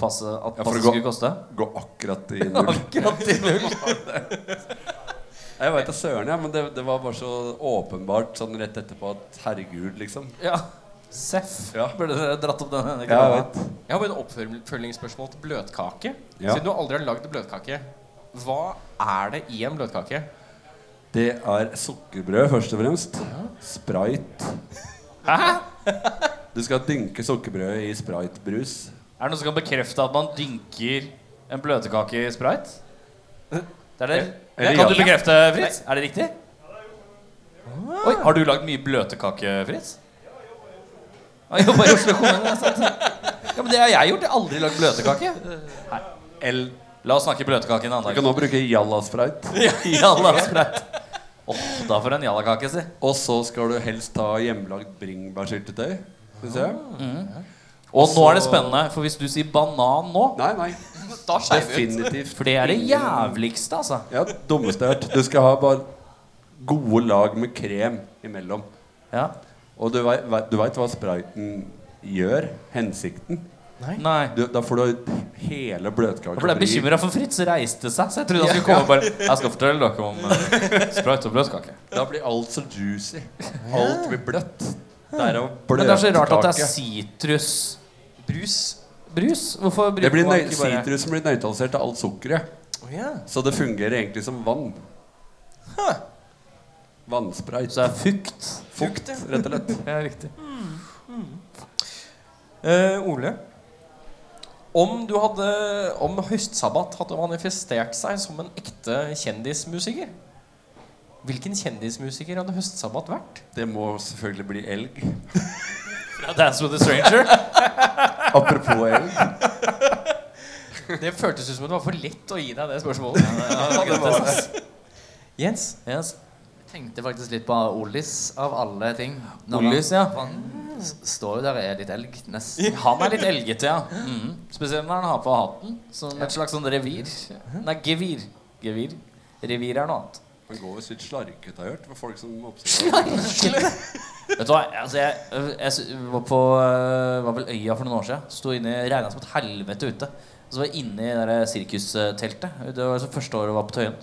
S2: passet, at
S3: Ja, for
S2: passet
S3: å gå-
S2: skulle koste?
S3: Gå akkurat i null.
S2: Akkurat i null.
S3: Jeg veit da søren, ja, men det, det var bare så åpenbart sånn rett etterpå at herregud, liksom.
S2: Ja. Seff.
S3: Ja.
S2: Burde dere dratt opp den ene
S3: Ja, jeg
S2: krana?
S3: vet.
S5: Jeg har bare et oppfølgingsspørsmål til bløtkake.
S3: Ja.
S5: Siden du aldri har lagd bløtkake, hva er det i en bløtkake?
S3: Det er sukkerbrød, først og fremst. Sprite. Du skal dynke sukkerbrødet i spritebrus.
S2: Er det noen som kan bekrefte at man dynker en bløtkake i sprite? Det er det.
S3: Eller
S2: kan du
S3: ja.
S2: bekrefte, Fritz? Er det riktig? Ah. Oi, har du lagd mye bløtkake, Fritz? Ja, jeg jobber i Oslo kommune. det er sant. Ja, men det har jeg gjort. Jeg har aldri lagd bløtkake.
S3: El
S2: La oss snakke bløtkake en annen
S3: Vi
S2: dag.
S3: kan nå bruke jallaspreit.
S2: Jalla spreit. Åh, da for en jallakake, si.
S3: Og så skal du helst ta hjemmelagd bringebærsyltetøy. Syns jeg.
S2: Ah. Og nå er det spennende, for hvis du sier banan nå
S3: Nei, nei.
S5: Da skeiver vi ut.
S3: Definitivt.
S2: For det er det
S3: ingen-
S2: jævligste, altså.
S3: Ja, det dummeste jeg har hørt. Du skal ha bare gode lag med krem imellom.
S2: Ja.
S3: Og du vei- vei- du veit hva sprayten gjør? Hensikten?
S2: Nei.
S3: Du, da får du hele bløtkaka.
S2: Jeg ble bekymra for Fritz reiste seg, så jeg trodde han skulle komme og bare Jeg skal fortelle dere om uh, sprøyt og bløtkake.
S3: Da blir alt så juicy. Alt blir bløtt. Derav
S2: Men det er så rart at det er
S3: bløtkake.
S2: sitrusbrus.
S5: Brus.
S2: Hvorfor
S3: Det
S2: bruker
S3: blir
S2: man
S3: nøy-
S2: ikke bare
S3: Sitrusen blir nøytralisert av alt sukkeret.
S5: Å ja.
S3: Så det fungerer egentlig som vann. Vannsprayt.
S2: Så det er fukt.
S3: Fukt, rett og slett.
S2: Ja, riktig.
S5: Eh, Ole. Om, du hadde, om høstsabbat hadde manifestert seg som en ekte kjendismusiker, hvilken kjendismusiker hadde høstsabbat vært?
S3: Det må selvfølgelig bli elg.
S2: Dance with a stranger.
S3: Apropos elg.
S5: Det føltes ut som det var for lett å gi deg det spørsmålet. Jens?
S2: Yes.
S4: Jeg tenkte faktisk litt på Olis, av alle ting. Når han-
S2: Nordlys, ja.
S4: Han s- står jo der og er litt elg, nesten.
S2: Han er litt elgete, ja. Mhm. Spesielt når han har på hatten. Som et slags sånn revir. Nei, gevir. Gevir. Revir er noe annet.
S3: Han går visst litt slarkete, har jeg hørt. For folk som oppsøker
S2: Vet du hva, altså jeg, jeg sy- var på øh, var vel Øya for noen år siden. Sto inne, regna som et helvete ute. Så var jeg inne i det der sirkusteltet. Det var altså første året jeg var på Tøyen.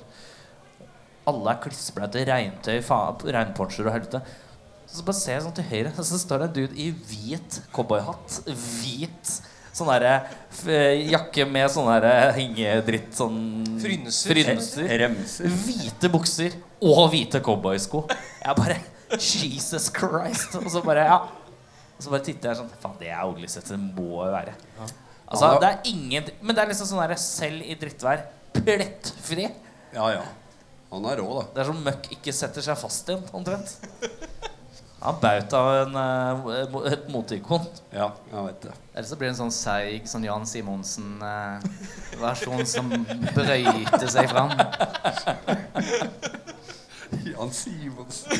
S2: Alle er klissblaute, regntøy, faen, regnponcher og helvete. Så bare ser jeg sånn til høyre, så står det en dude i hvit cowboyhatt. Hvit sånn derre f- jakke med sånn derre hengedritt sånn
S5: Frynser.
S2: frynser.
S3: remser.
S2: Hvite bukser og hvite cowboysko. Jeg bare Jesus Christ. Og så bare ja. Og så bare titter jeg sånn Faen, det er Ogleseth. Det må jo være. Altså, det er ingen Men det er liksom sånn derre selv i drittvær. Plettfri.
S3: Ja, ja. Han er rå, da.
S2: Det er som møkk ikke setter seg fast igjen, omtrent. Han baut av en, eh, mo- et moteikon.
S3: Ja, jeg vet det.
S4: Ellers så blir det en sånn seig sånn Jan Simonsen-versjon som brøyter seg fram.
S3: Jan Simonsen.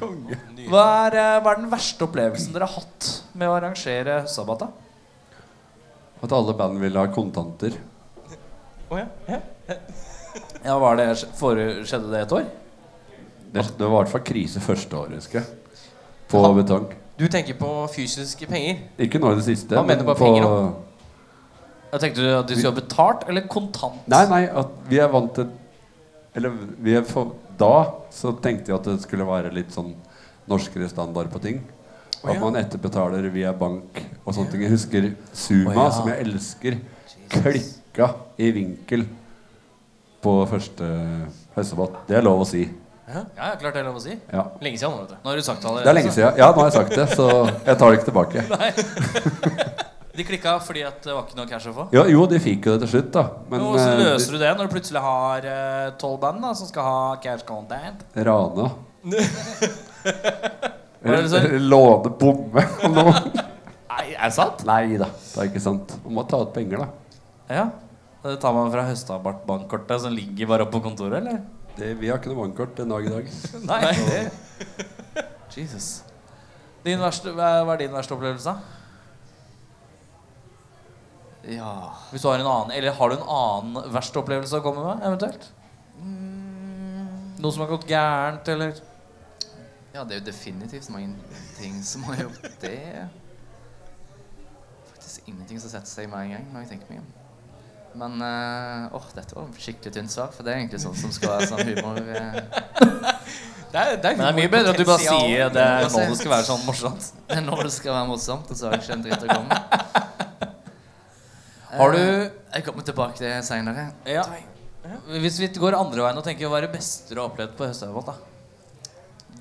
S3: Konge.
S2: Hva er, eh, hva er den verste opplevelsen dere har hatt med å arrangere Sabata?
S3: At alle band ville ha kontanter.
S5: Å ja. ja.
S2: Ja, var det, fore- skjedde det et år?
S3: Det, det var i hvert fall krise første året, husker jeg. På betong.
S5: Du tenker på fysiske penger.
S3: Ikke nå i det siste.
S5: Han mener bare penger, da.
S2: Jeg tenkte du at de skulle ha betalt, eller kontant?
S3: Nei, nei, at vi er vant til Eller vi er for, da så tenkte jeg at det skulle være litt sånn norskere standard på ting.
S5: Å,
S3: At
S5: ja.
S3: man etterbetaler via bank og sånne ting. Jeg husker
S2: Å,
S3: Suma,
S2: ja.
S3: som jeg elsker, klikka i vinkel på første høstdebatt. Det er lov å si.
S2: Ja, ja, klart det er lov å si.
S3: Ja.
S5: Lenge siden, vet du.
S2: Nå har du sagt det allerede.
S3: Det er lenge siden. Ja, nå har jeg sagt det, så jeg tar det ikke tilbake.
S2: De klikka fordi at det var ikke noe cash å få.
S3: Jo, jo de fikk jo det til slutt, da. Men
S2: Men Hvordan
S3: eh,
S2: løser du det når du plutselig har eh, tolv band da, som skal ha cash content?
S3: Rana.
S2: Hva er det du sa?
S3: Låne bomme av noen.
S2: Nei, er det sant?
S3: Nei da, det er ikke sant. Man må ta ut penger, da.
S2: Ja. Det tar man fra Høstabart-bankkortet som ligger bare oppe på kontoret, eller?
S3: Det, vi har ikke noe bankkort den dag i dag.
S2: Nei. Jesus. Din verste, hva hva er din verste opplevelse? da?
S4: Ja
S2: Hvis du Har en annen, eller har du en annen verste opplevelse å komme med, eventuelt? Noe som har gått gærent, eller?
S4: Ja, det er jo definitivt mange ting som har gjort det. Faktisk ingenting som setter seg med en gang når jeg tenker meg om. Men eh, åh, dette var et skikkelig tynt svar, for det er egentlig sånn som skal være sånn humor. eh.
S5: Det er, det er,
S2: Men det er mye bedre at du bare
S5: humorpotensial.
S2: sier at det er nå det skal være sånn morsomt.
S4: Det er når det skal være morsomt, og så har jeg ikke en dritt å komme med.
S2: Har du
S4: Eh, Jeg kommer tilbake til det seinere.
S2: Ja. Hvis vi går andre veien og tenker hva er det beste du har opplevd på høstsabbat? da?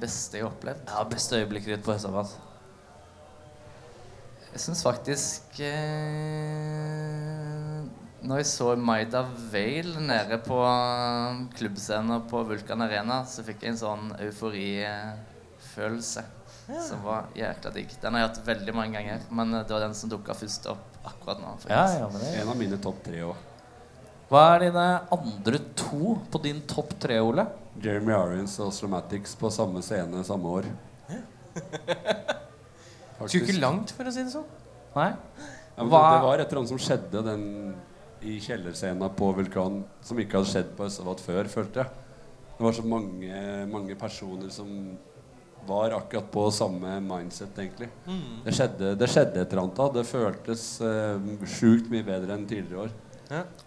S4: Beste jeg har opplevd.
S2: Ja, Beste øyeblikket ditt på høstsabbat?
S4: Jeg syns faktisk eh, Når jeg så Maida Vale nede på eh, klubbscenen på Vulkan Arena, så fikk jeg en sånn euforifølelse som var jækla digg. Den har jeg hatt veldig mange ganger, men eh, det var den som dukka først opp akkurat nå. faktisk.
S6: Ja, ja, men det.
S3: En av mine topp tre òg.
S6: Hva er dine andre to på din topp tre, Ole?
S3: Jeremy Irons og Slomatics på samme scene samme år.
S5: Skulle
S3: Faktisk.
S5: ikke langt, for å si det sånn.
S6: Nei?
S3: Ja, men det,
S6: Hva-
S3: det var et eller annet som skjedde den i kjellerscena på Vulkan som ikke hadde skjedd på Østfold før, følte jeg. Det var så mange, mange personer som var akkurat på samme mindset, egentlig. Det, skjedde, det skjedde et eller annet da. Det føltes eh, sjukt mye bedre enn tidligere år.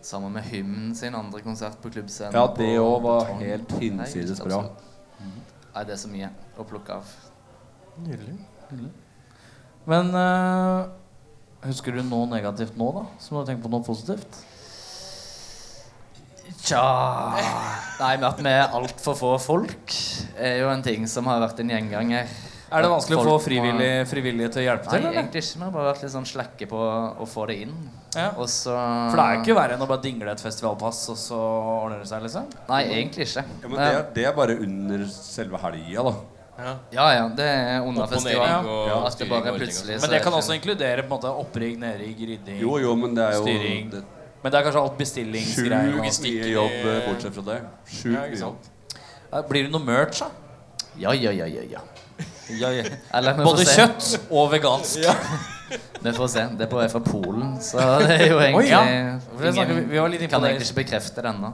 S4: Sammen med Hymn sin andre konsert på klubbscenen.
S3: Ja,
S4: på
S3: det òg var
S4: Betong.
S3: helt
S4: Nei,
S3: hinsides bra.
S4: absolutt. Nei, det er så mye å plukke av.
S6: Men eh, husker du noe negativt nå, da? Som du har tenkt på noe positivt?
S4: Tja Nei, med at vi er altfor få folk, er jo en ting som har vært en gjenganger.
S2: Er det vanskelig å få
S4: Folk må-
S2: frivillige, frivillige til å hjelpe
S4: Nei,
S2: til? Eller?
S4: egentlig ikke. Vi har bare vært litt sånn slakke på å få det inn.
S2: Ja.
S4: Og så
S2: For det er ikke verre enn å bare dingle et festivalpass, og så ordner det seg, liksom?
S4: Nei, egentlig ikke.
S3: Ja, men det, er- det er bare under selve helga, da.
S4: ja, ja, det er under
S2: ja.
S4: festivalen.
S2: Ja.
S4: At det bare plutselig
S2: Men det kan også inkludere på en måte opprigg, nedrigg, rydding
S3: Jo, jo, men det er jo
S2: Styring.
S3: det-
S2: Men det er kanskje alt
S3: Sjukt
S2: bestillingsgreier. og-
S3: mye jobb, eh, bortsett fra det. Sjukt mye jobb.
S2: Ja, Blir det noe merch, da?
S4: Ja, ja, ja, ja, ja.
S2: Ja, ja.
S4: Eller, vi får
S2: Både
S4: se.
S2: kjøtt og vegansk.
S4: Vi får se. Det er på vei fra Polen, så det er jo egentlig
S2: ja. For det snakker vi- vi var litt inne på
S4: Kan
S2: det.
S4: egentlig ikke bekrefte det ennå.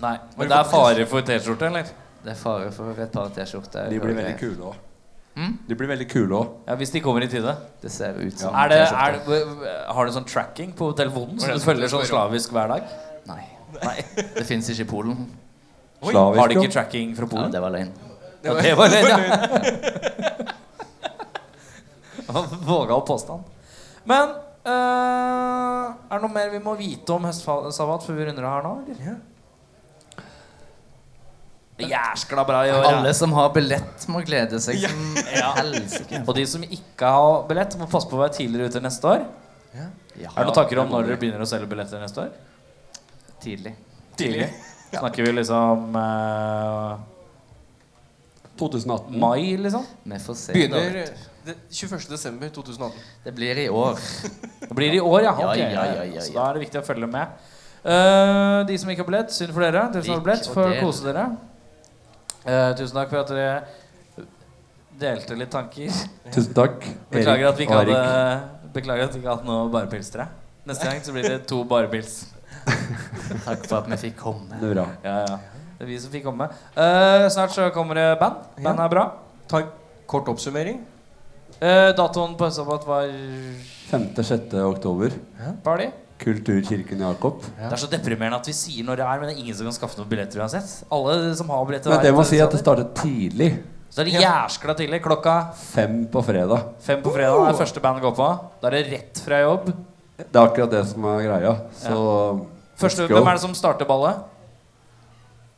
S2: Nei, Men det er fare for T-skjorte, eller?
S4: Det er fare for et par T-skjorter.
S3: De blir veldig kule òg.
S2: Mm?
S3: De blir veldig kule òg.
S2: Ja, Hvis de kommer i tide.
S4: Det ser ut som
S2: Er det, er,
S4: T-skjorter.
S2: det- har du sånn tracking på telefonen, så du følger sånn slavisk hver dag?
S4: Nei. Det fins ikke i Polen.
S2: Har de ikke
S3: Slavisk.
S2: tracking fra
S4: Ja,
S2: Polen?
S4: det var løgn.
S2: Ja, det var løgn, ja. Vågal påstand. Men eh, er det noe mer vi må vite om høstsabbat før vi runder av her nå? Eller? Det er Jæskla bra i år. ja.
S4: Alle som har billett, må glede seg som helsike.
S2: Og de som ikke har billett, må passe på å være tidligere ute neste år.
S4: Ja,
S2: Er det noen tanker om når dere begynner å selge billetter neste år?
S4: tidlig.
S2: Tidlig. Snakker vi liksom eh,
S3: 2018.
S2: mai, liksom?
S4: Vi får se.
S5: Begynner det- 21. desember 2018.
S4: da. Det blir i år.
S2: Det blir i år, ja.
S4: Ja,
S2: ok.
S4: ja, ja, ja,
S2: Så
S4: ja.
S2: da er det viktig å følge med. Eh, de som ikke har billett, synd for dere. Dere som har
S4: Lik
S2: billett,
S4: og
S2: får
S4: del.
S2: kose dere. Eh, tusen takk for at dere delte litt tanker.
S3: Tusen takk.
S2: Beklager at vi ikke
S3: og Erik.
S2: hadde Beklager at vi ikke hadde noe barepils til deg. Neste gang så blir det to barepils.
S4: Takk for at vi fikk komme.
S3: Det er bra.
S2: Ja, ja. Det er vi som fikk komme. Eh, snart så kommer det band. Band er bra.
S5: Ta en kort oppsummering.
S2: Eh, datoen på Høstsabbat var
S3: 5.-6. oktober.
S2: party.
S3: Kulturkirken Jakob.
S2: Det er så deprimerende at vi sier når det er, men det er ingen som kan skaffe noen billetter uansett. Alle som har billetter,
S3: Men det
S2: vet
S3: må
S2: det,
S3: si at det
S2: så-
S3: startet tidlig.
S2: Så er det jæskla tidlig. Klokka
S3: Fem på fredag.
S2: fem på fredag
S3: Oh.
S2: er første band går på. Da er det rett fra jobb.
S3: Det er akkurat det som er greia. Så
S2: Første,
S3: let's go.
S2: hvem er det som starter ballet?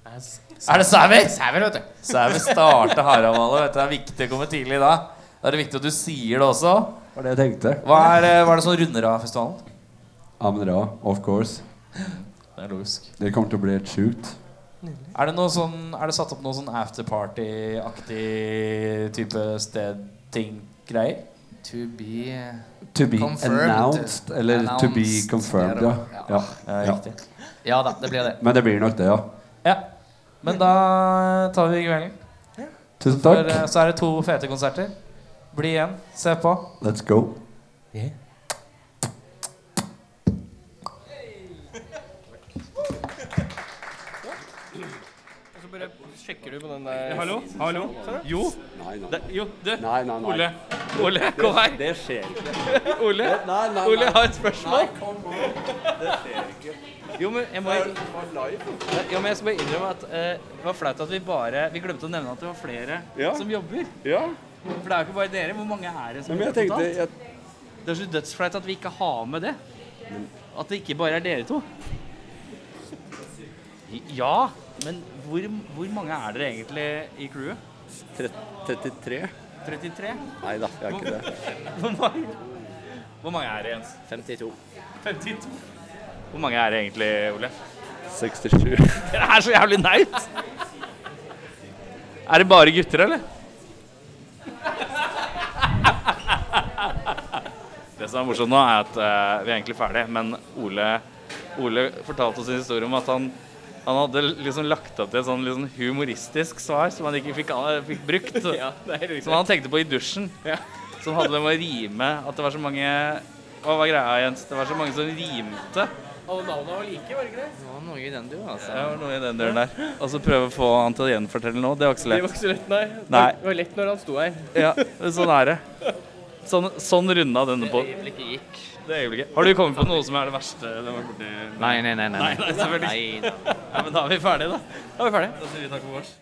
S2: Er det Sæver? Sæver, vet du. Sæver starter haraballet. vet du. Det er viktig å komme tidlig da. Da er det viktig at du sier det også.
S3: Det var det jeg tenkte.
S2: Hva er, eh, hva er det som runder av festivalen?
S3: Amen Ra, of course.
S2: Det er logisk.
S3: Det kommer til å bli helt sjukt.
S2: Er det, noe sånn, er det satt opp noe sånn afterparty-aktig type sted-ting-greier?
S4: To be
S3: To be
S4: Confirmed.
S3: announced, eller to be
S4: Announced.
S3: confirmed,
S4: Det
S3: ja.
S4: er det.
S3: ja.
S2: Eh,
S3: Ja.
S2: Riktig.
S4: Ja da, det blir det.
S3: Men det blir nok det, ja.
S2: Ja. Men da tar vi kvelden.
S3: Tusen
S2: For, eh,
S3: takk.
S2: så er det to fete konserter. Bli igjen. Se på.
S3: Let's go.
S5: Så bare sjekker du på den der
S7: Hallo? Hallo? Jo?
S3: Eh, Sånn, Nei, nei,
S7: Det, jo, du.
S3: Nei, nei, nei.
S7: Ole. Ole, kom her.
S3: Det skjer ikke.
S7: Ole,
S3: Nei, nei,
S7: Ole
S3: nei.
S7: jeg har et spørsmål.
S3: Kom on. Det skjer ikke.
S7: Jo, men jeg, må, jo, men jeg skal bare innrømme at eh, det var flaut at vi bare Vi glemte å nevne at det var flere
S3: Ja.
S7: som jobber.
S3: Ja,
S7: For det er jo ikke bare dere. Hvor mange er det som
S3: men jeg
S7: jobber
S3: tenkte
S7: totalt?
S3: jeg,
S7: Det er så dødsflaut at vi ikke har med det. At det ikke bare er dere to. Ja, men hvor, hvor mange er dere egentlig i crewet?
S3: 33?
S7: 33?
S3: Nei da, jeg er ikke det.
S7: Hvor mange, hvor mange er det, Jens?
S8: 52.
S7: 52. Hvor mange er det egentlig, Ole?
S3: 67.
S7: Dere er så jævlig naut! Er det bare gutter, eller?
S2: Det som er morsomt nå, er at eh, vi er egentlig ferdig, men Ole, Ole fortalte oss en historie om at han, han hadde liksom lagt opp til et sånn liksom humoristisk svar som han ikke fikk, an- fikk brukt. som han tenkte på i dusjen. Som hadde det med å rime At det var så mange Hva var greia, Jens? Det var så mange som rimte.
S4: Det var noe i den du, altså.
S2: Det var noe i den døren der. Og så prøve å få han til å gjenfortelle nå. Det var ikke så lett.
S9: ikke så lett, nei.
S2: Nei.
S9: Det var lett når han sto her.
S2: Ja, sånn er det. Sånn, sånn runda denne på. Det øyeblikket gikk. Det øyeblikket. Har du kommet på noe som er det verste? Det var borti
S4: Nei, nei, nei. nei.
S2: Nei, nei, selvfølgelig.
S4: nei.
S2: Ja, men da er vi ferdige, da. Da er vi ferdige. Da sier vi takk for oss.